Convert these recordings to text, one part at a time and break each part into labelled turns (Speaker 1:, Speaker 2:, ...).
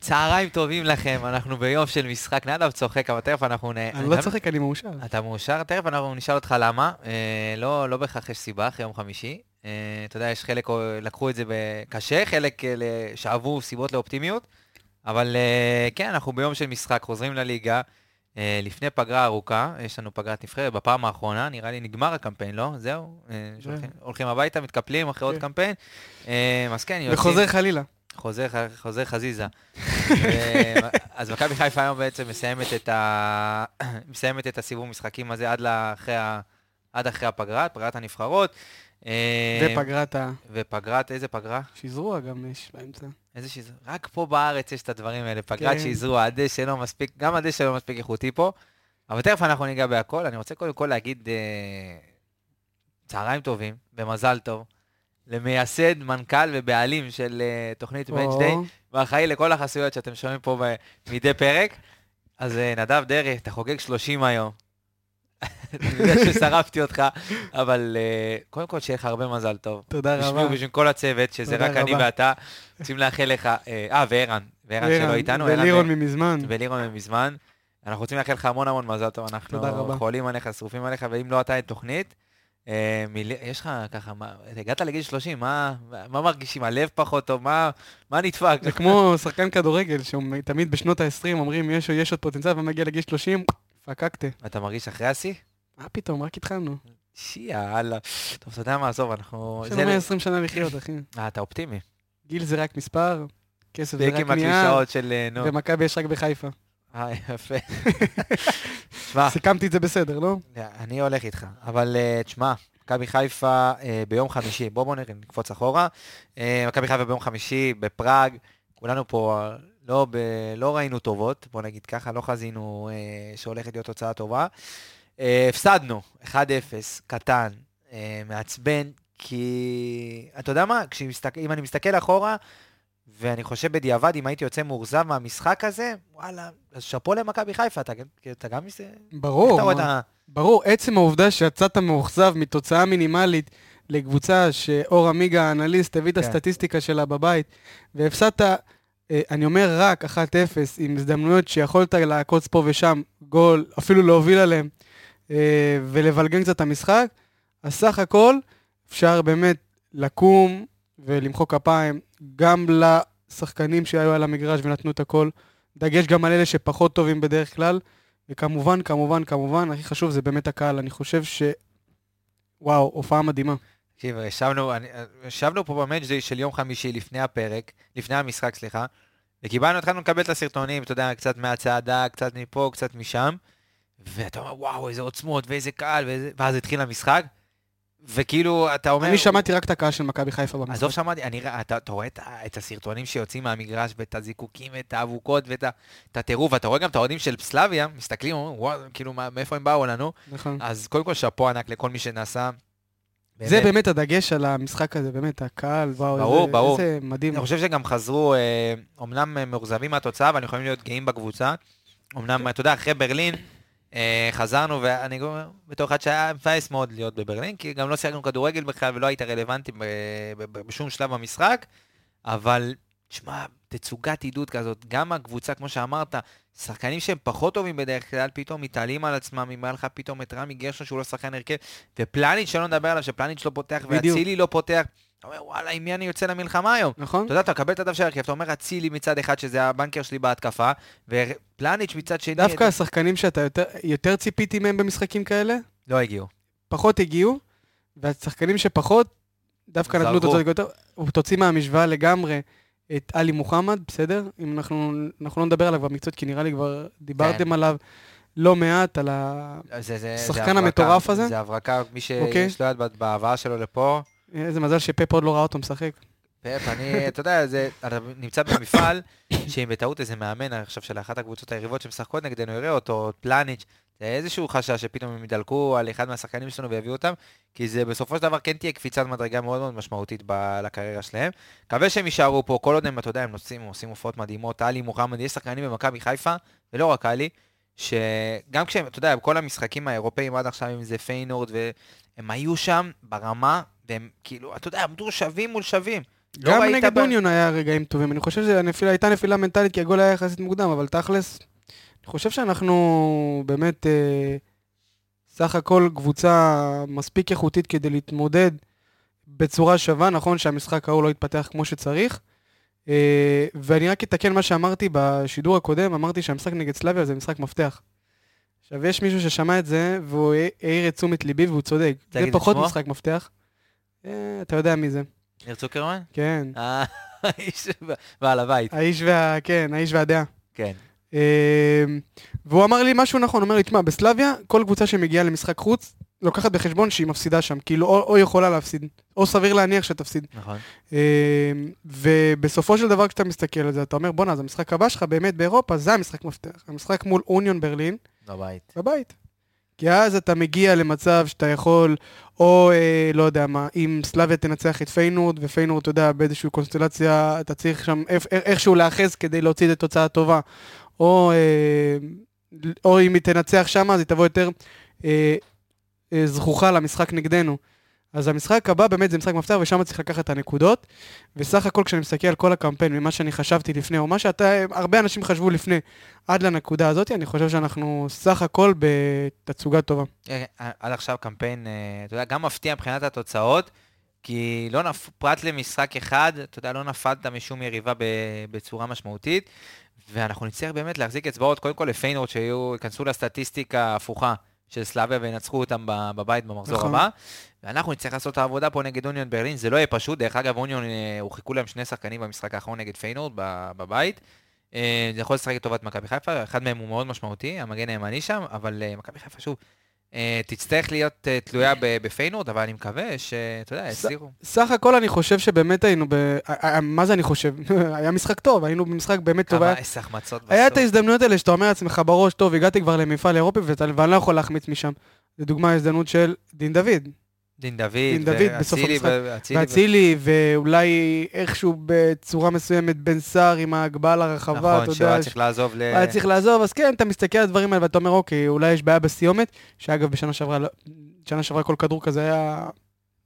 Speaker 1: צהריים טובים לכם, אנחנו ביום של משחק נדב צוחק, אבל תכף אנחנו נ...
Speaker 2: אני לא צוחק, אני מאושר.
Speaker 1: אתה מאושר? תכף אנחנו נשאל אותך למה. אה, לא, לא בהכרח יש סיבה אחרי יום חמישי. אה, אתה יודע, יש חלק, אה, לקחו את זה קשה, חלק אה, ל- שאבו סיבות לאופטימיות, אבל אה, כן, אנחנו ביום של משחק, חוזרים לליגה. אה, לפני פגרה ארוכה, יש לנו פגרת נבחרת, בפעם האחרונה, נראה לי נגמר הקמפיין, לא? זהו? אה, שהולכים- הולכים הביתה, מתקפלים אחרי עוד
Speaker 2: כן.
Speaker 1: קמפיין. אה, אז כן, יוצאים...
Speaker 2: וחוזר חלילה.
Speaker 1: חוזר, ח- חוזר חזיזה. ו- אז מכבי חיפה היום בעצם מסיימת את, ה... מסיימת את הסיבוב משחקים הזה עד, לאחרי ה... עד אחרי הפגרה, פגרת הנבחרות. אה,
Speaker 2: ופגרת
Speaker 1: ופגרת, איזה פגרה?
Speaker 2: השזרוע גם יש באמצע.
Speaker 1: איזה שזרוע? רק פה בארץ יש את הדברים האלה, פגרת
Speaker 2: כן.
Speaker 1: שזרוע, הדשא לא מספיק, גם הדשא לא מספיק איכותי פה. אבל תכף אנחנו ניגע בהכל. אני רוצה קודם כל להגיד אה, צהריים טובים ומזל טוב למייסד, מנכ"ל ובעלים של אה, תוכנית Match Day.
Speaker 2: או,
Speaker 1: ואחראי לכל החסויות שאתם שומעים פה ב- מדי פרק. אז אה, נדב דרעי, אתה חוגג 30 היום. אני יודע ששרפתי אותך, אבל אה, קודם כל שיהיה לך הרבה מזל טוב.
Speaker 2: תודה רבה.
Speaker 1: בשמי ובשם כל הצוות, שזה
Speaker 2: תודה
Speaker 1: רק אני
Speaker 2: רבה.
Speaker 1: ואתה, רוצים לאחל לך... אה, אה, וערן, וערן שלא
Speaker 2: לירון-
Speaker 1: איתנו,
Speaker 2: ולירון
Speaker 1: ו-
Speaker 2: ממזמן.
Speaker 1: ולירון מזמן. אנחנו רוצים לאחל לך המון המון מזל טוב,
Speaker 2: תודה רבה.
Speaker 1: אנחנו חולים עליך, שרופים עליך, ואם לא אתה, אין תוכנית. אה, מיל- יש לך ככה, מה- הגעת לגיל 30, מה מה מרגישים? הלב פחות טוב? מה מה נדפק?
Speaker 2: זה כמו שחקן כדורגל, שתמיד בשנות ה-20 אומרים, יש יש עוד פוטנציאל, ומגיע לגיל 30, פקקטה.
Speaker 1: אתה מרגיש אחרי השיא?
Speaker 2: מה פתאום, רק התחלנו.
Speaker 1: שיאללה. טוב, אתה יודע מה, עזוב, אנחנו...
Speaker 2: יש
Speaker 1: זה-
Speaker 2: לנו 120 שנה לחיות, אחי.
Speaker 1: אה, אתה אופטימי.
Speaker 2: גיל זה רק מספר, כסף זה
Speaker 1: זה
Speaker 2: רק
Speaker 1: עם
Speaker 2: נייר,
Speaker 1: הקלישאות של אה, נו.
Speaker 2: ומכבי יש רק בחיפה.
Speaker 1: אה, יפה. שמע,
Speaker 2: סיכמתי את זה בסדר, לא?
Speaker 1: אני הולך איתך, אבל אה, תשמע, מכבי חיפה אה, ביום חמישי, בוא בוא נראה, נקפוץ אחורה. אה, מכבי חיפה ביום חמישי בפראג, כולנו פה אה, לא ב- לא ראינו טובות, בוא נגיד ככה, לא חזינו אה, שהולכת להיות תוצאה טובה. אה, הפסדנו, 1-0, קטן, אה, מעצבן, כי אתה יודע מה, כשמסתכל, אם אני מסתכל אחורה, ואני חושב בדיעבד, אם הייתי יוצא מאוכזב מהמשחק הזה, וואלה, אז שאפו למכבי חיפה, אתה, גם- אתה גם... מס- איך
Speaker 2: ברור.
Speaker 1: אתה רואה את
Speaker 2: מה?
Speaker 1: ה...
Speaker 2: ברור, עצם העובדה שיצאת מאוכזב מתוצאה מינימלית לקבוצה שאור עמיגה האנליסט הביא את
Speaker 1: כן.
Speaker 2: הסטטיסטיקה שלה בבית, והפסדת, אה, אני אומר רק 1-0, עם הזדמנויות שיכולת לעקוץ פה ושם גול, אפילו להוביל עליהם, אה, ולבלגן קצת את המשחק, אז סך הכל אפשר באמת לקום ולמחוא כפיים גם לשחקנים שהיו על המגרש ונתנו את הכל, דגש גם על אלה שפחות טובים בדרך כלל. וכמובן, כמובן, כמובן, הכי חשוב זה באמת הקהל. אני חושב ש... וואו, הופעה מדהימה.
Speaker 1: תקשיב, ישבנו, אני- ישבנו פה במאג'די של יום חמישי לפני הפרק, לפני המשחק, סליחה, וקיבלנו, התחלנו לקבל את הסרטונים, אתה יודע, קצת מהצעדה, קצת מפה, קצת משם, ואתה אומר, וואו, איזה עוצמות, ואיזה קהל, ואיזה... ואז התחיל המשחק, וכאילו, אתה אומר...
Speaker 2: אני שמעתי רק את הקהל של מכבי חיפה
Speaker 1: עזוב,
Speaker 2: במשחק.
Speaker 1: שמעתי, אני, רא- אתה, אתה רואה את, ה- את הסרטונים שיוצאים מהמגרש, ואת הזיקוקים, ואת האבוקות, ואת ה- את הטירוף, ואתה רואה גם את האוהדים של סלאביה, מסתכלים, אומרים, וואו, כאילו, מה- מאיפה הם באו לנו?
Speaker 2: נכון.
Speaker 1: אז אה, קודם כל, שאפו ענק לכל מי שנעשה.
Speaker 2: זה באמת הדגש על המשחק הזה, באמת, הקהל, וואו,
Speaker 1: ברור,
Speaker 2: איזה-
Speaker 1: ברור.
Speaker 2: איזה מדהים.
Speaker 1: אני חושב שגם חזרו, אה, אומנם אה, מאוכזבים מהתוצאה, אבל יכולים להיות גאים בקבוצה.
Speaker 2: כן.
Speaker 1: אומנם, אתה יודע, אחרי ברלין, אה, חזרנו, ואני גם אומר, בתור אחד שהיה מפייס מאוד להיות בברלין, כי גם לא שיחקנו כדורגל בכלל ולא היית רלוונטי ב- ב- ב- בשום שלב במשחק, אבל, תשמע, תצוגת עידוד כזאת, גם הקבוצה, כמו שאמרת, שחקנים שהם פחות טובים בדרך כלל, פתאום מתעלים על עצמם, אם היה לך פתאום את רמי גרשון שהוא לא שחקן הרכב, ופלניץ' שלא נדבר עליו, שפלניץ' לא פותח,
Speaker 2: בדיוק.
Speaker 1: ואצילי לא פותח. אתה אומר, וואלה, עם מי אני יוצא למלחמה היום?
Speaker 2: נכון?
Speaker 1: אתה יודע, אתה מקבל את הדף של ההרכב, אתה אומר אצילי מצד אחד, שזה הבנקר שלי בהתקפה, ופלניץ' מצד שני...
Speaker 2: דווקא השחקנים שאתה יותר- יותר ציפיתי מהם במשחקים כאלה,
Speaker 1: לא הגיעו.
Speaker 2: פחות הגיעו, והשחקנים שפחות, דווקא נתנו
Speaker 1: זרקו.
Speaker 2: תוצאות יותר... הוא תוציא מהמשוואה לגמרי את עלי מוחמד, בסדר? אם אנחנו, אנחנו לא נדבר עליו במקצועות, כי נראה לי כבר דיברתם
Speaker 1: כן.
Speaker 2: עליו לא מעט, על ה...
Speaker 1: זה- זה- זה
Speaker 2: השחקן
Speaker 1: הברקה,
Speaker 2: המטורף הזה?
Speaker 1: זה הברקה, מי
Speaker 2: אוקיי.
Speaker 1: שיש לו יד בה- בהבאה שלו לפה.
Speaker 2: איזה מזל שפפ עוד לא ראה אותו משחק.
Speaker 1: פאפ, אני, אתה יודע, זה- אתה נמצא במפעל, שאם בטעות איזה מאמן עכשיו של אחת הקבוצות היריבות שמשחקות נגדנו, יראה אותו, פלניץ', זה איזשהו חשש שפתאום הם ידלקו על אחד מהשחקנים שלנו ויביאו אותם, כי זה בסופו של דבר כן תהיה קפיצת מדרגה מאוד מאוד משמעותית ב- לקריירה שלהם. מקווה שהם יישארו פה, כל עוד הם, אתה יודע, הם נוסעים, עושים הופעות מדהימות, עלי מוחמד, יש שחקנים במכבי חיפה, ולא רק עלי, שגם כשהם, אתה יודע, כל המשחקים האירופאים עד עכשיו, אם זה פיינורד, והם היו שם ברמה, והם כאילו, אתה יודע, עמדו שווים מול שווים. לא
Speaker 2: גם
Speaker 1: ראית
Speaker 2: נגד
Speaker 1: ב-
Speaker 2: אוניון היה רגעים טובים. אני חושב שהנפילה הייתה נפילה מנטלית, כי הגול היה יחסית מוקדם, אבל תכלס, אני חושב שאנחנו באמת אה, סך הכל קבוצה מספיק איכותית כדי להתמודד בצורה שווה. נכון שהמשחק ההוא לא התפתח כמו שצריך. אה, ואני רק אתקן מה שאמרתי בשידור הקודם, אמרתי שהמשחק נגד סלאביה זה משחק מפתח. עכשיו, יש מישהו ששמע את זה, והוא העיר את תשומת ליבי, והוא צודק. זה
Speaker 1: תגיד את
Speaker 2: פחות
Speaker 1: שמו?
Speaker 2: משחק מפתח. אה, אתה יודע מי זה,
Speaker 1: ניר צוקרמן?
Speaker 2: כן.
Speaker 1: אה, האיש בעל הבית.
Speaker 2: האיש וה... כן, האיש והדעה.
Speaker 1: כן.
Speaker 2: אמ, והוא אמר לי משהו נכון, הוא אומר לי, תשמע, בסלביה, כל קבוצה שמגיעה למשחק חוץ, לוקחת בחשבון שהיא מפסידה שם, כאילו, או, או יכולה להפסיד, או סביר להניח שתפסיד.
Speaker 1: נכון.
Speaker 2: אמ, ובסופו של דבר, כשאתה מסתכל על זה, אתה אומר, בואנה, אז המשחק הבא שלך באמת באירופה, זה המשחק מפתח. המשחק מול אוניון ברלין,
Speaker 1: בבית.
Speaker 2: בבית. כי אז אתה מגיע למצב שאתה יכול, או אה, לא יודע מה, אם סלאביה תנצח את פיינורד, ופיינורד, אתה יודע, באיזושהי קונסטלציה, אתה צריך שם איך, איכשהו להאחז כדי להוציא את התוצאה הטובה. או, אה, או אם היא תנצח שם, אז היא תבוא יותר אה, אה, זכוכה למשחק נגדנו. אז המשחק הבא באמת זה משחק מפתח, ושם צריך לקחת את הנקודות. וסך הכל כשאני מסתכל על כל הקמפיין, ממה שאני חשבתי לפני, או מה שאתה, אה, הרבה אנשים חשבו לפני, עד לנקודה הזאת, אני חושב שאנחנו סך הכל בתצוגה טובה.
Speaker 1: כן, כן, עד עכשיו קמפיין, אה, אתה יודע, גם מפתיע מבחינת התוצאות, כי לא נפ... פרט למשחק אחד, אתה יודע, לא נפלת משום יריבה ב... בצורה משמעותית, ואנחנו נצטרך באמת להחזיק אצבעות, קודם כל לפיינורד, שייכנסו לסטטיסטיקה ההפוכה של סלאביה וינצחו אותם ב... בבית במחזור
Speaker 2: נכון.
Speaker 1: הבא, ואנחנו נצטרך לעשות את העבודה פה נגד אוניון ברלין, זה לא יהיה פשוט, דרך אגב, אוניון, אה, הורחקו להם שני שחקנים במשחק האחרון נגד פיינורד ב... בבית. אה, זה יכול לשחק לטובת מכבי חיפה, אחד מהם הוא מאוד משמעותי, המגן הימני שם, אבל אה, מכבי חיפה שוב, אה, תצטרך להיות אה, תלויה ב- בפיינורד, אבל אני מקווה שאתה יודע,
Speaker 2: ס-
Speaker 1: יצליחו.
Speaker 2: סך הכל אני חושב שבאמת היינו ב... ה- ה- מה זה אני חושב? היה משחק טוב, היינו במשחק באמת טוב.
Speaker 1: כמה
Speaker 2: היה-
Speaker 1: עשר החמצות
Speaker 2: היה את
Speaker 1: בסוף.
Speaker 2: ההזדמנויות האלה שאתה אומר לעצמך בראש, טוב, הגעתי כבר למפעל אירופי ואתה- ואני לא יכול להחמיץ משם. לדוגמה, ההזדמנות של דין דוד.
Speaker 1: דין דוד,
Speaker 2: דין דוד בסוף
Speaker 1: ואצילי
Speaker 2: המשחק.
Speaker 1: ואצילי ו-
Speaker 2: ואצילי, ואולי איכשהו בצורה מסוימת בן סער עם ההגבהה לרחבה, אתה יודע.
Speaker 1: נכון, שהוא היה
Speaker 2: ש-
Speaker 1: צריך לעזוב ל...
Speaker 2: הוא היה צריך לעזוב, אז כן, אתה מסתכל על הדברים האלה ואתה אומר, אוקיי, אולי יש בעיה בסיומת, שאגב, בשנה שעברה, לא- שנה שעברה כל כדור כזה היה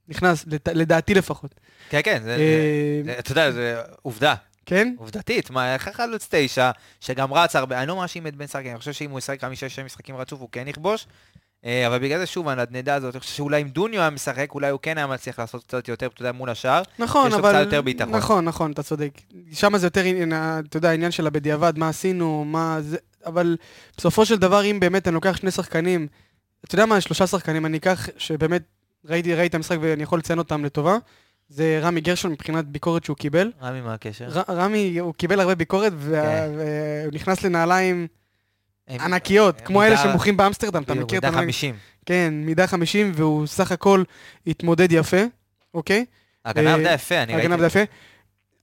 Speaker 2: נכנס, לת- לדעתי לפחות.
Speaker 1: כן, כן, זה-
Speaker 2: אה,
Speaker 1: זה- אתה יודע, זה עובדה,
Speaker 2: כן?
Speaker 1: עובדתית. מה, איך חלוץ תשע, שגם רץ הרבה, אני לא מאשים את בן שחק, אני חושב שאם הוא ישחק חמישה-שישה משחקים רצוף, הוא כן יכבוש. אה, אבל בגלל זה שוב, הנדנדה הזאת, אני חושב שאולי אם דוניו היה משחק, אולי הוא כן היה מצליח לעשות קצת יותר, אתה יודע, מול השאר.
Speaker 2: נכון,
Speaker 1: יש לו
Speaker 2: אבל...
Speaker 1: קצת יותר ביטחון.
Speaker 2: נכון, נכון, אתה צודק. שם זה יותר, עניין- אתה יודע, העניין של הבדיעבד, מה עשינו, מה זה... אבל בסופו של דבר, אם באמת אני לוקח שני שחקנים, אתה יודע מה, שלושה שחקנים, אני אקח, שבאמת ראיתי, ראיתי את המשחק ואני יכול לציין אותם לטובה, זה רמי גרשון מבחינת ביקורת שהוא קיבל.
Speaker 1: רמי, מה הקשר?
Speaker 2: ר- רמי, הוא קיבל הרבה ביקורת, וה-
Speaker 1: כן.
Speaker 2: והוא נכנס לנעליים
Speaker 1: אה,
Speaker 2: ענקיות,
Speaker 1: אה,
Speaker 2: כמו אלה
Speaker 1: מידה-
Speaker 2: שמוחים באמסטרדם, אתה מכיר את
Speaker 1: מידה
Speaker 2: הנעליים?
Speaker 1: 50.
Speaker 2: כן, מידה 50, והוא סך הכל התמודד יפה, אוקיי?
Speaker 1: הגנה
Speaker 2: אה,
Speaker 1: עבדה יפה, אני ראיתי.
Speaker 2: הגנה בדף יפה.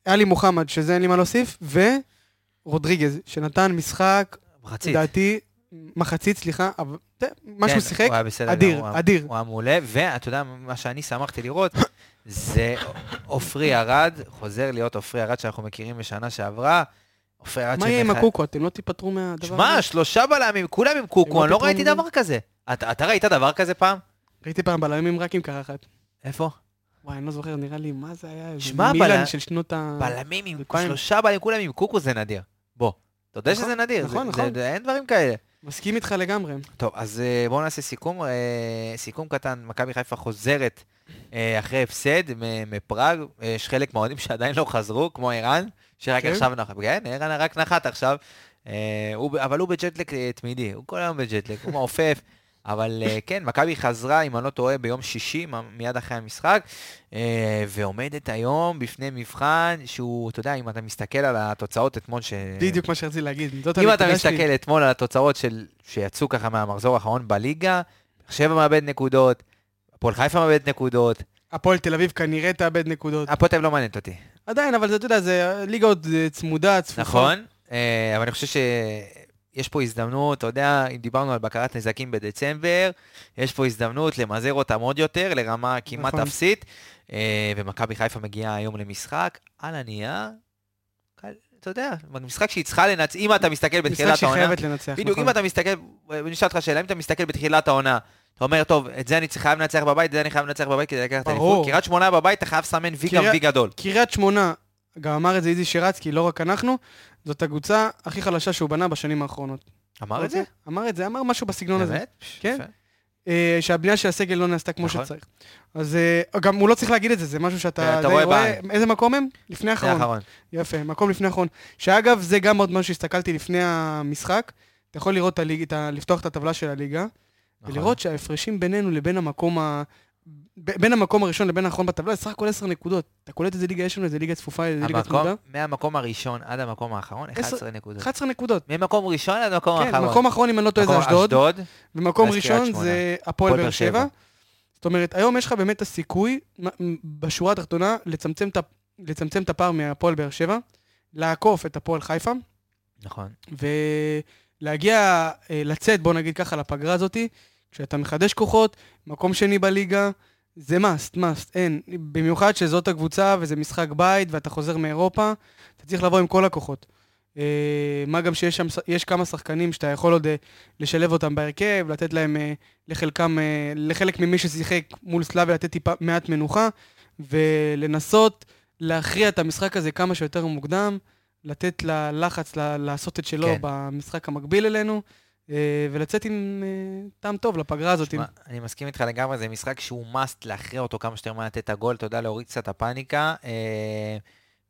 Speaker 2: עלי מוחמד, שזה אין לי מה להוסיף, ורודריגז, שנתן משחק,
Speaker 1: מחצית.
Speaker 2: לדעתי, מחצית, סליחה, אבל זה, מה
Speaker 1: כן,
Speaker 2: שהוא שיחק,
Speaker 1: הוא היה בסדר גמור,
Speaker 2: אדיר,
Speaker 1: הוא היה-
Speaker 2: אדיר.
Speaker 1: הוא היה מעולה, ואתה יודע, מה שאני שמחתי לראות, זה עופרי ארד, חוזר להיות עופרי ארד שאנחנו מכירים משנה שעברה. עופרי ארד
Speaker 2: מה יהיה עם
Speaker 1: שמח-
Speaker 2: הקוקו? אתם לא תיפטרו מהדבר
Speaker 1: שמע,
Speaker 2: הזה?
Speaker 1: שלושה בלמים, כולם עם
Speaker 2: הם
Speaker 1: קוקו,
Speaker 2: לא
Speaker 1: אני לא
Speaker 2: פתאום-
Speaker 1: ראיתי דבר כזה. אתה אתה ראית דבר כזה פעם?
Speaker 2: ראיתי פעם בלמים רק עם קרחת.
Speaker 1: איפה?
Speaker 2: וואי, אני לא זוכר, נראה לי, מה זה היה? איזה
Speaker 1: שמע,
Speaker 2: מילן
Speaker 1: בלם-
Speaker 2: של שנות ה...
Speaker 1: בלמים עם,
Speaker 2: אלפיים.
Speaker 1: שלושה בלמים, כולם עם קוקו זה נדיר. בוא, אתה יודע
Speaker 2: נכון,
Speaker 1: שזה נדיר. זה-
Speaker 2: נכון,
Speaker 1: זה-
Speaker 2: נכון.
Speaker 1: זה- אין דברים כאלה.
Speaker 2: מסכים איתך לגמרי.
Speaker 1: טוב, אז אה, בואו נעשה סיכום. אה, סיכום קטן, מכבי חיפה חוזרת אה, אחרי הפסד מ- מפראג. אה, יש חלק מהאוהדים שעדיין לא חזרו, כמו ערן, שרק
Speaker 2: כן?
Speaker 1: עכשיו נחת. כן, ערן רק נחת עכשיו. אה, הוא ב- אבל הוא בג'טלק אה, תמידי, הוא כל היום בג'טלק, הוא מעופף. אבל אה, כן, מכבי חזרה, אם אני לא טועה, ביום שישי, מ- מיד אחרי המשחק, אה, ועומדת היום בפני מבחן שהוא, אתה יודע, אם אתה מסתכל על התוצאות אתמול, ש...
Speaker 2: בדיוק מה שרציתי להגיד, זאת
Speaker 1: אם אתה
Speaker 2: הנקודה שלי.
Speaker 1: מסתכל אתמול על התוצאות של, שיצאו ככה מהמחזור האחרון בליגה, באר שבע מאבד נקודות, הפועל חיפה מאבד נקודות,
Speaker 2: הפועל תל אביב כנראה תאבד נקודות.
Speaker 1: הפועל תל אביב לא מעניינת אותי,
Speaker 2: עדיין, אבל זה, אתה יודע, זה ליגה עוד אה, צמודה, צפופה.
Speaker 1: נכון? אה, אבל אני חושב שיש פה הזדמנות, אתה יודע, אם דיברנו על בקרת נזקים בדצמבר, יש פה הזדמנות למזער אותם עוד יותר לרמה כמעט
Speaker 2: נכון.
Speaker 1: אפסית, אה, ומכבי חיפה מגיעה היום למשחק, על הנייר, קל- אתה יודע, משחק שהיא צריכה לנצ... אם אתה מסתכל בתחילת העונה...
Speaker 2: משחק שהיא חייבת לנצח,
Speaker 1: בדיוק,
Speaker 2: נכון.
Speaker 1: אם אתה מסתכל, אני אשאל אותך שאלה, אם אתה מסתכל בתחילת העונה, אתה אומר, טוב, את זה אני צריך- חייב לנצח בבית, את זה אני חייב לנצח בבית כדי לקחת את
Speaker 2: ברור.
Speaker 1: האליפות. קריית שמונה בבית, אתה חייב לסמן וי גם
Speaker 2: קריית-
Speaker 1: וי גדול.
Speaker 2: קריית שמונה, גם אמר את זה איזי שירצקי, לא רק אנחנו, זאת הקבוצה הכי חלשה שהוא בנה בשנים האחרונות. אוקיי?
Speaker 1: אמר את זה?
Speaker 2: אמר את זה, אמר משהו בסגנון הזה.
Speaker 1: באמת?
Speaker 2: כן.
Speaker 1: יפה.
Speaker 2: אה, שהבנייה של הסגל לא נעשתה כמו
Speaker 1: נכון.
Speaker 2: שצריך. אז אה, גם הוא לא צריך להגיד את זה, זה משהו
Speaker 1: כן,
Speaker 2: שאתה
Speaker 1: אתה
Speaker 2: די
Speaker 1: רואה בעין.
Speaker 2: איזה מקום הם? לפני
Speaker 1: זה
Speaker 2: האחרון.
Speaker 1: האחרון.
Speaker 2: יפה, מקום לפני האחרון. שאגב, זה גם עוד משהו שהסתכלתי לפני המשחק. אתה יכול לראות, את הליג- את ה- לפתוח את הטבלה של הליגה,
Speaker 1: נכון.
Speaker 2: ולראות שההפרשים בינינו לבין המקום ה... ב- בין המקום הראשון לבין האחרון בטבלה, זה סך הכל 10 נקודות. אתה קולט איזה ליגה יש לנו, איזה ליגה צפופה, איזה ליגה
Speaker 1: המקום,
Speaker 2: צמודה?
Speaker 1: מהמקום הראשון עד המקום האחרון,
Speaker 2: עשר-
Speaker 1: 11 נקודות.
Speaker 2: 11 נקודות.
Speaker 1: ממקום ראשון עד המקום
Speaker 2: כן,
Speaker 1: האחרון.
Speaker 2: מקום אחרון, אם אני לא טועה, זה
Speaker 1: מקום
Speaker 2: אשדוד.
Speaker 1: אשדוד.
Speaker 2: ומקום
Speaker 1: ואז קריית
Speaker 2: ראשון
Speaker 1: שמונה.
Speaker 2: זה הפועל באר שבע.
Speaker 1: שבע.
Speaker 2: זאת אומרת, היום יש לך באמת את הסיכוי, מ- בשורה התחתונה, לצמצם את ה- לצמצם את הפער מהפועל באר שבע, לעקוף את הפועל חיפה,
Speaker 1: נכון.
Speaker 2: ולהגיע, אה, לצאת, בוא נגיד ככה, לפגרה הזאתי, כשאתה מחדש כוחות, מקום שני בליגה, זה must, must, אין. במיוחד שזאת הקבוצה וזה משחק בית ואתה חוזר מאירופה, אתה צריך לבוא עם כל הכוחות. אה, מה גם שיש שם, ש- יש כמה שחקנים שאתה יכול עוד אה, לשלב אותם בהרכב, לתת להם, אה, לחלקם, אה, לחלק ממי ששיחק מול סלאביה, לתת טיפה מעט מנוחה, ולנסות להכריע את המשחק הזה כמה שיותר מוקדם, לתת ללחץ ל- לעשות את שלו
Speaker 1: כן.
Speaker 2: במשחק המקביל אלינו, אה, ולצאת עם אה, טעם טוב לפגרה הזאת.
Speaker 1: שמע, אני מסכים איתך לגמרי, זה משחק שהוא must להכריע אותו כמה שיותר מהר לתת את הגול, אתה יודע, להוריד קצת את הפאניקה. אה,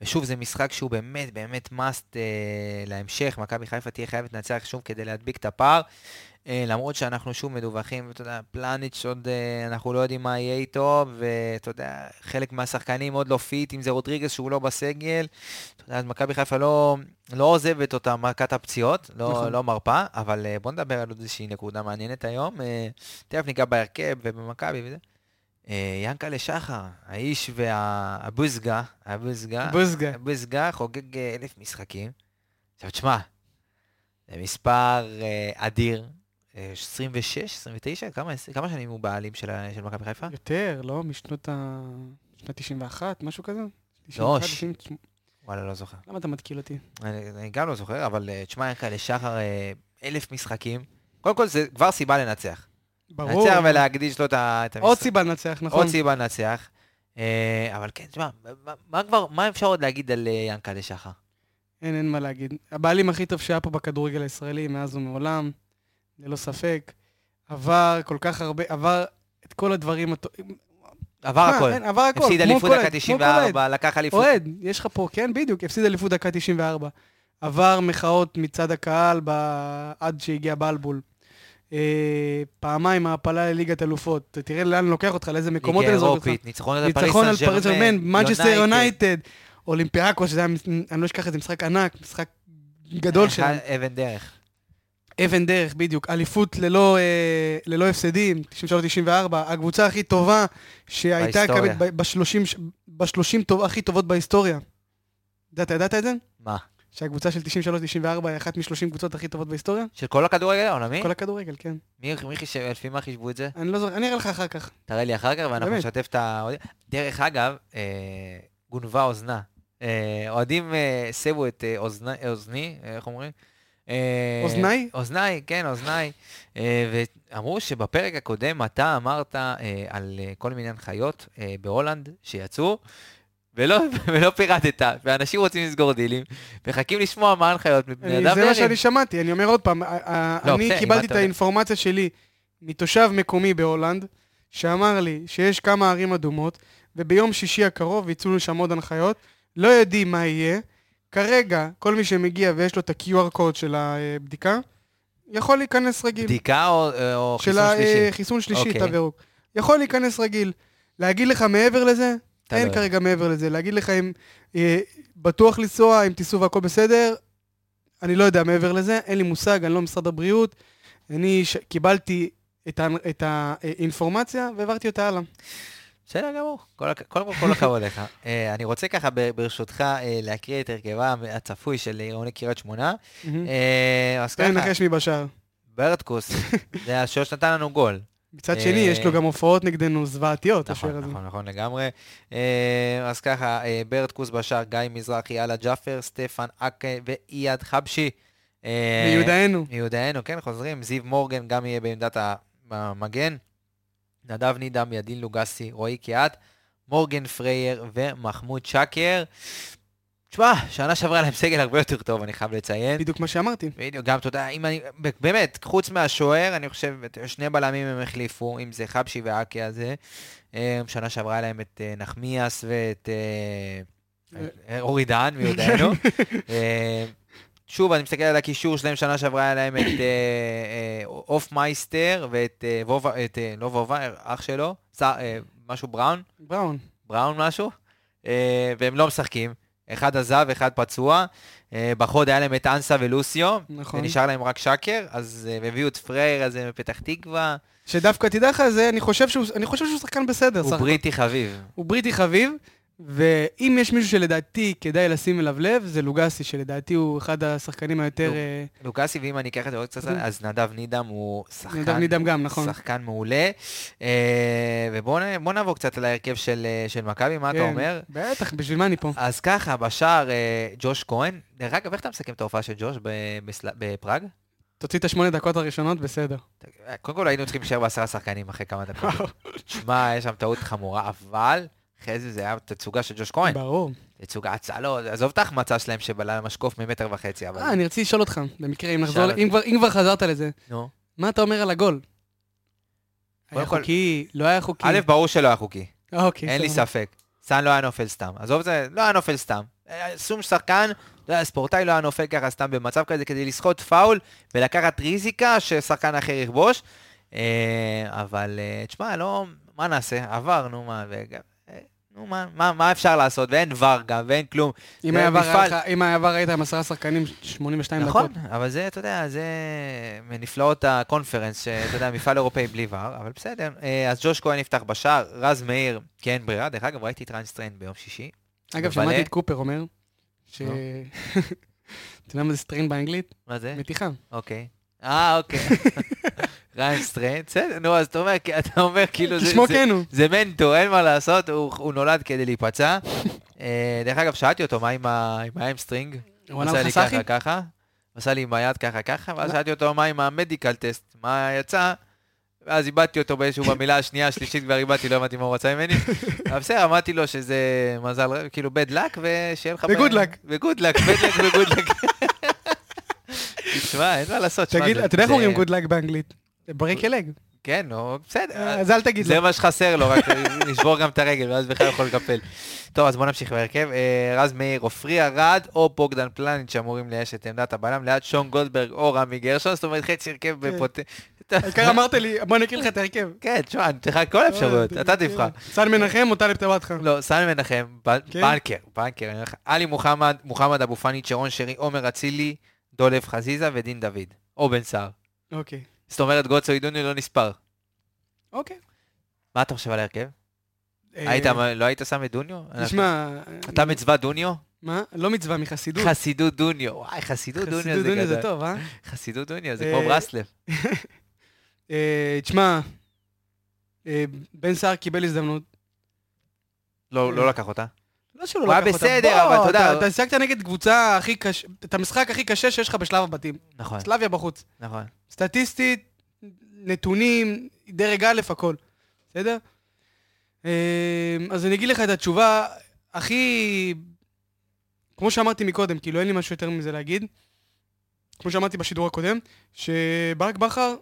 Speaker 1: ושוב, זה משחק שהוא באמת באמת must אה, להמשך. מכבי חיפה תהיה חייבת לנצח שוב כדי להדביק את הפער. אה, למרות שאנחנו שוב מדווחים, אתה יודע, פלניץ' עוד, אה, אנחנו לא יודעים מה יהיה איתו, ואתה יודע, חלק מהשחקנים עוד לא פיט, אם זה רודריגז שהוא לא בסגל. אתה יודע, אז מכבי חיפה לא, לא עוזבת אותה מכת הפציעות, לא,
Speaker 2: נכון.
Speaker 1: נכון. לא מרפה, אבל אה, בוא נדבר על עוד איזושהי נקודה מעניינת היום. אה, תכף ניגע בהרכב ובמכבי וזה. אה, ינקלה שחר, האיש והבוזגה, הבוזגה,
Speaker 2: בוזגה.
Speaker 1: הבוזגה חוגג אה, אלף משחקים. עכשיו תשמע, זה מספר אה, אדיר, אה, 26, 29, כמה, כמה שנים הוא בעלים של, ה- של מכבי חיפה?
Speaker 2: יותר, לא? משנות ה... שנת 91, משהו כזה? 91,
Speaker 1: לא, ש-
Speaker 2: 98.
Speaker 1: וואלה, לא זוכר.
Speaker 2: למה אתה מתקיל אותי?
Speaker 1: אני, אני גם לא זוכר, אבל אה, תשמע, ינקלה שחר, אה, אלף משחקים. קודם כל, זה כבר סיבה לנצח.
Speaker 2: ברור.
Speaker 1: לנצח ולהקדיש לו את ה- את המשחק.
Speaker 2: עוד סיבה לנצח, נכון?
Speaker 1: עוד סיבה לנצח. אה, אבל כן, תשמע, מה- מה כבר, מה אפשר עוד להגיד על אה, ינקלה שחר?
Speaker 2: אין, אין מה להגיד. הבעלים הכי טוב שהיה פה בכדורגל הישראלי מאז ומעולם, ללא ספק. עבר כל כך הרבה, עבר את כל הדברים... הטו-
Speaker 1: עבר
Speaker 2: מה,
Speaker 1: הכל.
Speaker 2: אין, עבר הכל.
Speaker 1: הפסיד
Speaker 2: כמו
Speaker 1: אליפות
Speaker 2: כל עד,
Speaker 1: דקה
Speaker 2: כמו
Speaker 1: 94, לקח
Speaker 2: כל עד.
Speaker 1: אליפות.
Speaker 2: אוהד, יש לך פה, כן, בדיוק, הפסיד אליפות דקה 94. עבר מחאות מצד הקהל ב... עד שהגיע בלבול. אה, פעמיים העפלה לליגת אלופות. תראה לאן לוקח אותך, לאיזה מקומות
Speaker 1: ליגה
Speaker 2: אני זורק אותך.
Speaker 1: אירופית, ניצחון על פריס
Speaker 2: ניצחון על פריס
Speaker 1: סן
Speaker 2: ג'רמן,
Speaker 1: ג'רמן,
Speaker 2: מנצ'סטר יונייטד, אולימפיאקו, שזה היה, מס- אני לא אשכח את זה, משחק ענק, משחק גדול שלנו.
Speaker 1: אה, אחד- אבן דרך.
Speaker 2: אבן דרך, בדיוק. אליפות ללא, אה, ללא הפסדים, 93-94, הקבוצה הכי טובה שהייתה
Speaker 1: בהיסטוריה.
Speaker 2: ב-30 הכי טובות בהיסטוריה. אתה יודע, אתה ידעת את זה?
Speaker 1: מה?
Speaker 2: שהקבוצה של 93-94 היא אחת מ-30 קבוצות הכי טובות בהיסטוריה?
Speaker 1: של כל הכדורגל העולמי?
Speaker 2: כל הכדורגל, כן.
Speaker 1: מי מי חישב, לפי מה חישבו את זה?
Speaker 2: אני לא זוכר, אני אראה לך אחר כך.
Speaker 1: תראה לי אחר כך ואנחנו
Speaker 2: באמת.
Speaker 1: נשתף את ה... דרך אגב, אה, גונבה אוזנה. אה, אוהדים אה, הסבו את אה, אוזני- אוזני, אה, איך אומרים? אה,
Speaker 2: אוזניי?
Speaker 1: אוזניי, כן, אוזניי. אה, ואמרו שבפרק הקודם אתה אמרת אה, על אה, כל מיני הנחיות אה, בהולנד שיצאו, ולא, ולא פירטת, ואנשים רוצים לסגור דילים, מחכים לשמוע מה ההנחיות מבני
Speaker 2: אני-
Speaker 1: אדם
Speaker 2: אה, זה מה
Speaker 1: דרעי.
Speaker 2: שאני שמעתי, אני אומר עוד פעם, ה- ה-
Speaker 1: לא,
Speaker 2: אני
Speaker 1: בסדר, אם
Speaker 2: קיבלתי
Speaker 1: אתה
Speaker 2: את
Speaker 1: יודע.
Speaker 2: האינפורמציה שלי מתושב מקומי בהולנד, שאמר לי שיש כמה ערים אדומות, וביום שישי הקרוב יצאו לשם עוד הנחיות, לא יודעים מה יהיה. כרגע, כל מי שמגיע ויש לו את ה-QR קוד של הבדיקה, יכול להיכנס רגיל.
Speaker 1: בדיקה או, או
Speaker 2: של
Speaker 1: חיסון
Speaker 2: ה-
Speaker 1: שלישי?
Speaker 2: אה, חיסון שלישי,
Speaker 1: אוקיי.
Speaker 2: תו ירוק. יכול להיכנס רגיל. להגיד לך מעבר לזה?
Speaker 1: אתה לא
Speaker 2: אין
Speaker 1: יודע.
Speaker 2: כרגע מעבר לזה. להגיד לך אם אה, בטוח לנסוע, אם תיסעו והכל בסדר? אני לא יודע מעבר לזה, אין לי מושג, אני לא משרד הבריאות. אני ש... קיבלתי את, ה... את האינפורמציה והעברתי אותה הלאה.
Speaker 1: בסדר גמור, כל הכ- קודם כל כל הכבוד לך. אה, אני רוצה ככה ב- ברשותך אה, להקריא את הרכבה הצפוי של עירוני קריית שמונה. אה, אז
Speaker 2: תן לי
Speaker 1: ככה,
Speaker 2: לנחש מי בשער.
Speaker 1: ברטקוס, זה השוער שנתן לנו גול.
Speaker 2: מצד
Speaker 1: אה,
Speaker 2: שני, יש לו גם הופעות נגדנו זוועתיות, השוער
Speaker 1: נכון,
Speaker 2: הזה.
Speaker 1: נכון, נכון לגמרי. אה, אז ככה, אה, ברטקוס בשער, גיא מזרחי, אללה ג'אפר, סטפן אקה ואייד חבשי. אה,
Speaker 2: מיודענו.
Speaker 1: מיודענו, כן, חוזרים. זיו מורגן גם יהיה בעמדת המגן. נדב נידם, ידין לוגסי, רועי קיאט, מורגן פרייר ומחמוד שקר. תשמע, שנה שעברה להם סגל הרבה יותר טוב, אני חייב לציין.
Speaker 2: בדיוק מה שאמרתי.
Speaker 1: בדיוק, גם תודה, אם אני, באמת, חוץ מהשוער, אני חושב, את- שני בלמים הם החליפו, אם זה חבשי ואקי הזה. אה, שנה שעברה להם את אה, נחמיאס ואת אה, אה, אורי דהן, מי יודענו. אה, שוב, אני מסתכל על הקישור שלהם, שנה שעברה היה להם את אה, אה, אוף מייסטר ואת אה, וובה, את, אה, לא וובה, אח שלו, ס- אה, משהו בראון,
Speaker 2: בראון.
Speaker 1: בראון משהו, אה, והם לא משחקים. אחד עזב, אחד פצוע. אה, בחוד היה להם את אנסה ולוסיו,
Speaker 2: נכון.
Speaker 1: ונשאר להם רק שקר, אז אה, הם הביאו את פרייר הזה מפתח תקווה.
Speaker 2: שדווקא תדע לך, זה, אני חושב שהוא, אני חושב שהוא שחקן בסדר.
Speaker 1: הוא
Speaker 2: שח-
Speaker 1: בריטי חביב.
Speaker 2: הוא בריטי חביב, ואם יש מישהו שלדעתי כדאי לשים אליו לב, זה לוגסי, שלדעתי הוא אחד השחקנים היותר...
Speaker 1: נו,
Speaker 2: אה,
Speaker 1: לוקאסי, ואם אני אקח את זה עוד קצת,
Speaker 2: נו.
Speaker 1: אז נדב נידם הוא שחקן...
Speaker 2: אוקיי. נדב נידם גם, נכון.
Speaker 1: שחקן מעולה. אה, ובואו נעבור קצת על ההרכב של אה, של מכבי, מה אתה
Speaker 2: כן.
Speaker 1: אומר?
Speaker 2: בטח, בשביל מה אני פה?
Speaker 1: אז ככה, בשער אה, ג'וש כהן. דרך אגב, איך אתה מסכם את ההופעה של ג'וש ב- בסל- בפראג?
Speaker 2: תוציא את השמונה דקות הראשונות, בסדר.
Speaker 1: אה, קודם כל היינו צריכים להישאר בעשרה שחקנים אחרי כמה דקות. תשמע, יש שם טעות חמורה, אבל אחרי זה זה היה תצוגה של ג'וש כהן.
Speaker 2: ברור.
Speaker 1: תצוגה הצלות, עזוב את ההחמצה שלהם שבלם משקוף ממטר וחצי, אבל...
Speaker 2: אה, אני רציתי לשאול אותך, במקרה, אם נחזור,
Speaker 1: שאל
Speaker 2: אם כבר- אם כבר חזרת לזה,
Speaker 1: נו.
Speaker 2: מה אתה אומר על הגול? היה
Speaker 1: קודם כל-
Speaker 2: חוקי, לא היה חוקי.
Speaker 1: א', ברור שלא היה חוקי,
Speaker 2: אה, אוקיי,
Speaker 1: אין לי
Speaker 2: סבבה.
Speaker 1: ספק. סאן לא היה נופל סתם. עזוב את זה, לא היה נופל סתם. אה, שום שחקן, לא היה ספורטאי, לא היה נופל ככה סתם במצב כזה כדי לסחוט פאול ולקחת ריזיקה ששחקן אחר יכבוש. אה, אבל אה, תשמע, לא, מה נעשה? עבר, נו מה, וגם... אה, נו מה, מה, מה אפשר לעשות? ואין ור גם, ואין כלום.
Speaker 2: אם
Speaker 1: זה
Speaker 2: היה עבר, היה
Speaker 1: מפעל.
Speaker 2: לך- אם היה עבר, היית עם עשרה שחקנים, 82 דקות.
Speaker 1: נכון, אבל זה, אתה יודע, זה מנפלאות הקונפרנס, שאתה יודע, מפעל אירופאי בלי ור, אבל בסדר. אה, אז ג'וש כהן יפתח בשער, רז מאיר, כי אין ברירה. דרך אגב, ראיתי את ריינסטריין ביום שישי.
Speaker 2: אגב,
Speaker 1: מבלה.
Speaker 2: שמעתי את קופר אומר, ש...
Speaker 1: נו.
Speaker 2: אתה יודע מה זה סטרין באנגלית?
Speaker 1: מה זה?
Speaker 2: מתיחה.
Speaker 1: אוקיי. אה, אוקיי. ריינסטריין, בסדר, נו, אז אתה אומר, אתה אומר כאילו, זה-
Speaker 2: כשמו
Speaker 1: זה-
Speaker 2: כן הוא.
Speaker 1: זה מנטו, אין מה לעשות, הוא הוא נולד כדי להיפצע. אה, דרך אגב, שאלתי אותו, מה עם ה- עם האמסטרינג?
Speaker 2: הוא
Speaker 1: עשה
Speaker 2: ענה
Speaker 1: לי
Speaker 2: לך
Speaker 1: ככה
Speaker 2: סאחי?
Speaker 1: ככה, עשה לי עם היד ככה ככה, ואז
Speaker 2: לא.
Speaker 1: שאלתי אותו מה עם המדיקל טסט, מה יצא, ואז איבדתי אותו באיזשהו במילה השנייה, השלישית כבר איבדתי, לא הבנתי מה הוא רצה ממני. אבל בסדר, אמרתי לו שזה מזל, רע, כאילו bad luck, ושיהיה לך...
Speaker 2: ו-good luck.
Speaker 1: וגוד לק, bad luck וגוד לק. תשמע, אין מה לעשות. שמע,
Speaker 2: תגיד,
Speaker 1: זה-
Speaker 2: אתה יודע איך
Speaker 1: זה-
Speaker 2: אומרים גוד לק באנגלית? ברייק אלג.
Speaker 1: כן, נו, בסדר.
Speaker 2: אז אל תגיד
Speaker 1: זה
Speaker 2: לו.
Speaker 1: מה שחסר לו, רק נשבור גם את הרגל, ואז בכלל יכול לקפל. טוב, אז בואו נמשיך בהרכב. אה, רז מאיר, עופרי ארד או בוגדן פלניץ' שאמורים לאייש את עמדת הבלם, ליד שון גולדברג או רמי גרשון, זאת אומרת חצי הרכב
Speaker 2: כן.
Speaker 1: בפוט...
Speaker 2: העיקר אמרת לי, בוא נקריא לך את ההרכב.
Speaker 1: כן, תשמע, אני אתן לך כל האפשרויות, אתה תבחר.
Speaker 2: סן מנחם או טלב טוואטחה?
Speaker 1: לא, סן מנחם, ב-
Speaker 2: כן?
Speaker 1: בנקר, בנקר, אני אומר לך. עלי מוחמד, מוחמד אבו פאני, שרון שרי, עומר אצילי, דולב חזיזה ודין דוד, או בן סער.
Speaker 2: אוקיי.
Speaker 1: זאת אומרת, גוצו עידוני לא נספר.
Speaker 2: אוקיי.
Speaker 1: מה אתה חושב על ההרכב?
Speaker 2: אה,
Speaker 1: היית, לא היית שם את דוניו?
Speaker 2: תשמע,
Speaker 1: אתה מצווה דוניו?
Speaker 2: מה? לא מצווה מחסידות.
Speaker 1: חסידות דוניו, וואי, חסידות דוניו
Speaker 2: חסידות
Speaker 1: זה
Speaker 2: דוניו זה
Speaker 1: גדול.
Speaker 2: טוב, אה?
Speaker 1: חסידות דוניו זה
Speaker 2: אה,
Speaker 1: כמו ברסלב.
Speaker 2: אה, תשמע, אה, בן סער קיבל הזדמנות.
Speaker 1: לא לא לקח אותה.
Speaker 2: לא שהוא לא
Speaker 1: הוא היה
Speaker 2: לקח אותה.
Speaker 1: בסדר,
Speaker 2: בוא,
Speaker 1: אבל אתה יודע-
Speaker 2: אתה שיחקת נגד קבוצה הכי קשה, את המשחק הכי קשה שיש לך בשלב הבתים.
Speaker 1: נכון,
Speaker 2: סלאביה בחוץ.
Speaker 1: נכון.
Speaker 2: סטטיסטית, נתונים, דרג א', הכל, בסדר? אמ, אז אני אגיד לך את התשובה הכי... כמו שאמרתי מקודם, כאילו אין לי משהו יותר מזה להגיד, כמו שאמרתי בשידור הקודם, שברק בכר,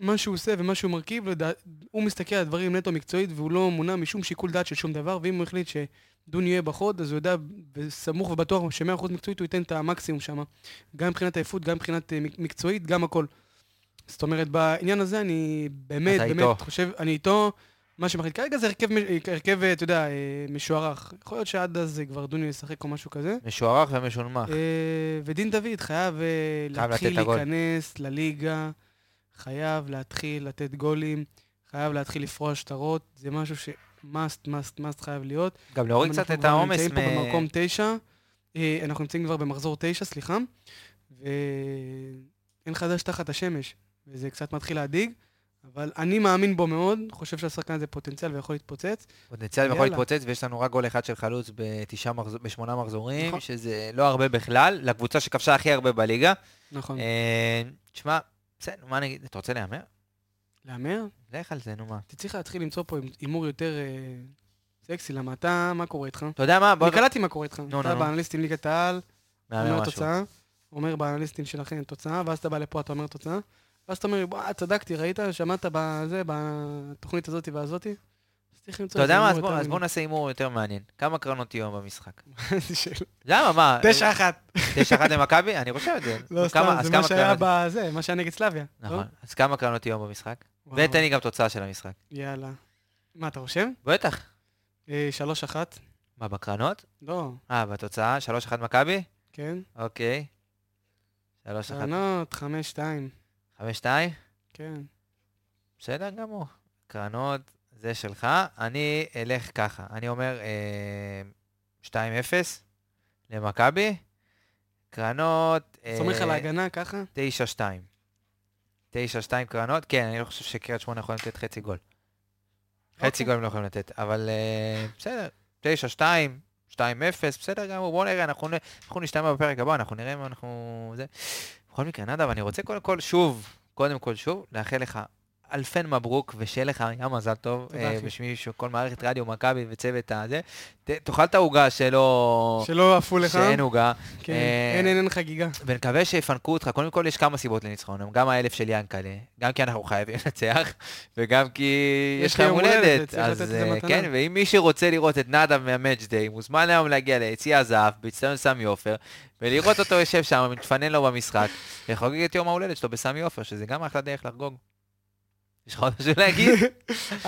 Speaker 2: מה שהוא עושה ומה שהוא מרכיב, לדע... הוא מסתכל על הדברים נטו מקצועית והוא לא מונע משום שיקול דעת של שום דבר, ואם הוא החליט שדון יהיה בחוד, אז הוא יודע בסמוך ובטוח ש-100% מקצועית הוא ייתן את המקסימום שם, גם מבחינת עייפות, גם מבחינת אה, מק- מקצועית, גם הכל. זאת אומרת, בעניין הזה אני באמת,
Speaker 1: אתה
Speaker 2: באמת
Speaker 1: איתו.
Speaker 2: חושב, אני איתו, מה שמחליט כרגע זה הרכב, מ- הרכב, אה, אתה יודע, אה, משוערך. יכול להיות שעד אז אה, כבר דוניו ישחק או משהו כזה.
Speaker 1: משוערך ומשונמך.
Speaker 2: אה, ודין דוד חייב אה,
Speaker 1: חייב
Speaker 2: להתחיל
Speaker 1: לתת את הגול.
Speaker 2: להיכנס לליגה, חייב להתחיל לתת גולים, חייב להתחיל לפרוע שטרות, זה משהו ש- must, must, must חייב להיות.
Speaker 1: גם להוריד קצת את העומס
Speaker 2: אנחנו כבר נמצאים פה
Speaker 1: מ...
Speaker 2: במקום תשע, אה, אנחנו נמצאים כבר במחזור תשע, סליחה, ואין חדש תחת השמש, וזה קצת מתחיל להדאיג. אבל אני מאמין בו מאוד, חושב שהשחקן הזה פוטנציאל ויכול להתפוצץ.
Speaker 1: פוטנציאל יכול
Speaker 2: יאללה.
Speaker 1: להתפוצץ, ויש לנו רק גול אחד של חלוץ בתשעה מחזור- בשמונה מחזורים,
Speaker 2: נכון.
Speaker 1: שזה לא הרבה בכלל, לקבוצה שכבשה הכי הרבה בליגה.
Speaker 2: נכון.
Speaker 1: אה, תשמע, בסדר, מה אני אגיד? אתה רוצה להמר?
Speaker 2: להמר?
Speaker 1: לך על זה, נו מה.
Speaker 2: אתה צריך להתחיל למצוא פה הימור יותר אה, סקסי, למה אתה, מה קורה איתך?
Speaker 1: אתה יודע מה? בוא...
Speaker 2: אני קלטתי מה קורה איתך.
Speaker 1: נו,
Speaker 2: אתה
Speaker 1: נו, נו.
Speaker 2: באנליסטים ליגת העל,
Speaker 1: מהמר
Speaker 2: אומר
Speaker 1: משהו.
Speaker 2: תוצאה, אומר באנליסטים שלכם תוצאה, ואז אתה בא לפה, אתה אומר תוצאה, ואז אתה אומר, וואי, צדקתי, ראית? שמעת בזה, בתוכנית הזאת והזאתי? אז צריך
Speaker 1: אתה
Speaker 2: למצוא איזה
Speaker 1: יודע מה?
Speaker 2: הימור
Speaker 1: אז בוא-
Speaker 2: יותר
Speaker 1: אז בואו נעשה הימור יותר מעניין. כמה קרנות יום במשחק?
Speaker 2: מעניין. איזה שאלה.
Speaker 1: למה, מה?
Speaker 2: תשע אחת.
Speaker 1: תשע אחת למכבי? אני רושם את זה.
Speaker 2: לא,
Speaker 1: אז
Speaker 2: סתם,
Speaker 1: אה, כמה- אז
Speaker 2: זה
Speaker 1: כמה
Speaker 2: מה שהיה
Speaker 1: קרנות-
Speaker 2: בזה, מה שהיה נגד סלאביה. לא?
Speaker 1: נכון. אז כמה קרנות יום במשחק?
Speaker 2: וואו,
Speaker 1: ותן לי גם תוצאה של המשחק.
Speaker 2: יאללה. מה, אתה רושם?
Speaker 1: בטח.
Speaker 2: אה, שלוש אחת?
Speaker 1: מה, בקרנות?
Speaker 2: לא,
Speaker 1: אה, בתוצאה? שלוש אחת מכבי?
Speaker 2: כן.
Speaker 1: אוקיי. שלוש אחת.
Speaker 2: קרנות, חמש, שתיים.
Speaker 1: חמש שתיים?
Speaker 2: כן.
Speaker 1: בסדר גמור. קרנות, זה שלך. אני אלך ככה. אני אומר אה, 2-0 למכבי. קרנות... אה,
Speaker 2: סומך על ההגנה ככה?
Speaker 1: 9-2. 9-2 קרנות. כן, אני לא חושב שקריית שמונה יכולים לתת חצי גול. חצי
Speaker 2: אוקיי.
Speaker 1: גול הם לא יכולים לתת, אבל אה, בסדר. 9-2, 2-0, בסדר גמור. בואו נראה, אנחנו נ- אנחנו נשתמע בפרק הבא, אנחנו נראה אם אנחנו... זה. בכל מקרה, נדב, אני רוצה קודם כל, שוב, קודם כל, שוב, לאחל לך אלפן מברוק, ושיהיה לך ים מזל טוב.
Speaker 2: תודה,
Speaker 1: אה,
Speaker 2: אחי.
Speaker 1: בשמי, של כל מערכת רדיו, מכבי וצוות הזה. ת- תאכל את העוגה שלא...
Speaker 2: שלא עפו לך?
Speaker 1: שאין עוגה.
Speaker 2: כן.
Speaker 1: אה,
Speaker 2: אין, אין, אין חגיגה.
Speaker 1: ונקווה שיפנקו אותך. קודם כל, יש כמה סיבות לניצחון. גם האלף של ינקלה, גם כי אנחנו חייבים לנצח, וגם כי
Speaker 2: יש
Speaker 1: יש לך
Speaker 2: לי
Speaker 1: יום
Speaker 2: יום הולדת,
Speaker 1: הולדת.
Speaker 2: צריך לתת
Speaker 1: אז
Speaker 2: את זה
Speaker 1: אה,
Speaker 2: מתנה.
Speaker 1: כן, ואם מי שרוצה לראות את נאדה מהמאץ' דיי, מוזמן היום להגיע ליציע הזהב, באצטדיון סמי עופר, ולראות אותו יושב שם, מתפנן לו במשחק, וחוגג את יום ההולדת שלו בסמי עופר, שזה גם אחלה דרך לחגוג. יש לך עוד משהו להגיד?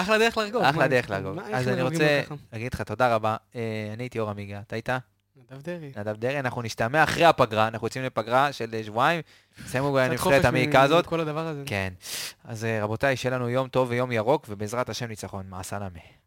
Speaker 2: אחלה דרך לחגוג.
Speaker 1: אחלה
Speaker 2: לא, מה,
Speaker 1: דרך
Speaker 2: מה,
Speaker 1: לחגוג.
Speaker 2: איך
Speaker 1: אז אני
Speaker 2: מלמדים
Speaker 1: רוצה
Speaker 2: אותך?
Speaker 1: להגיד לך תודה רבה. אה, אני הייתי אור עמיגה, אתה איתה?
Speaker 2: נדב דרעי.
Speaker 1: נדב דרעי, אנחנו נשתמע אחרי הפגרה, אנחנו יוצאים לפגרה של אה, שבועיים, נסיימו
Speaker 2: קצת
Speaker 1: הנבחרת
Speaker 2: חופש
Speaker 1: המעיקה
Speaker 2: מ-
Speaker 1: הזאת.
Speaker 2: מכל הדבר הזה.
Speaker 1: כן. אז אה, רבותיי, שיהיה לנו יום טוב ויום ירוק, ובעזרת השם ניצחון. מעשה למה.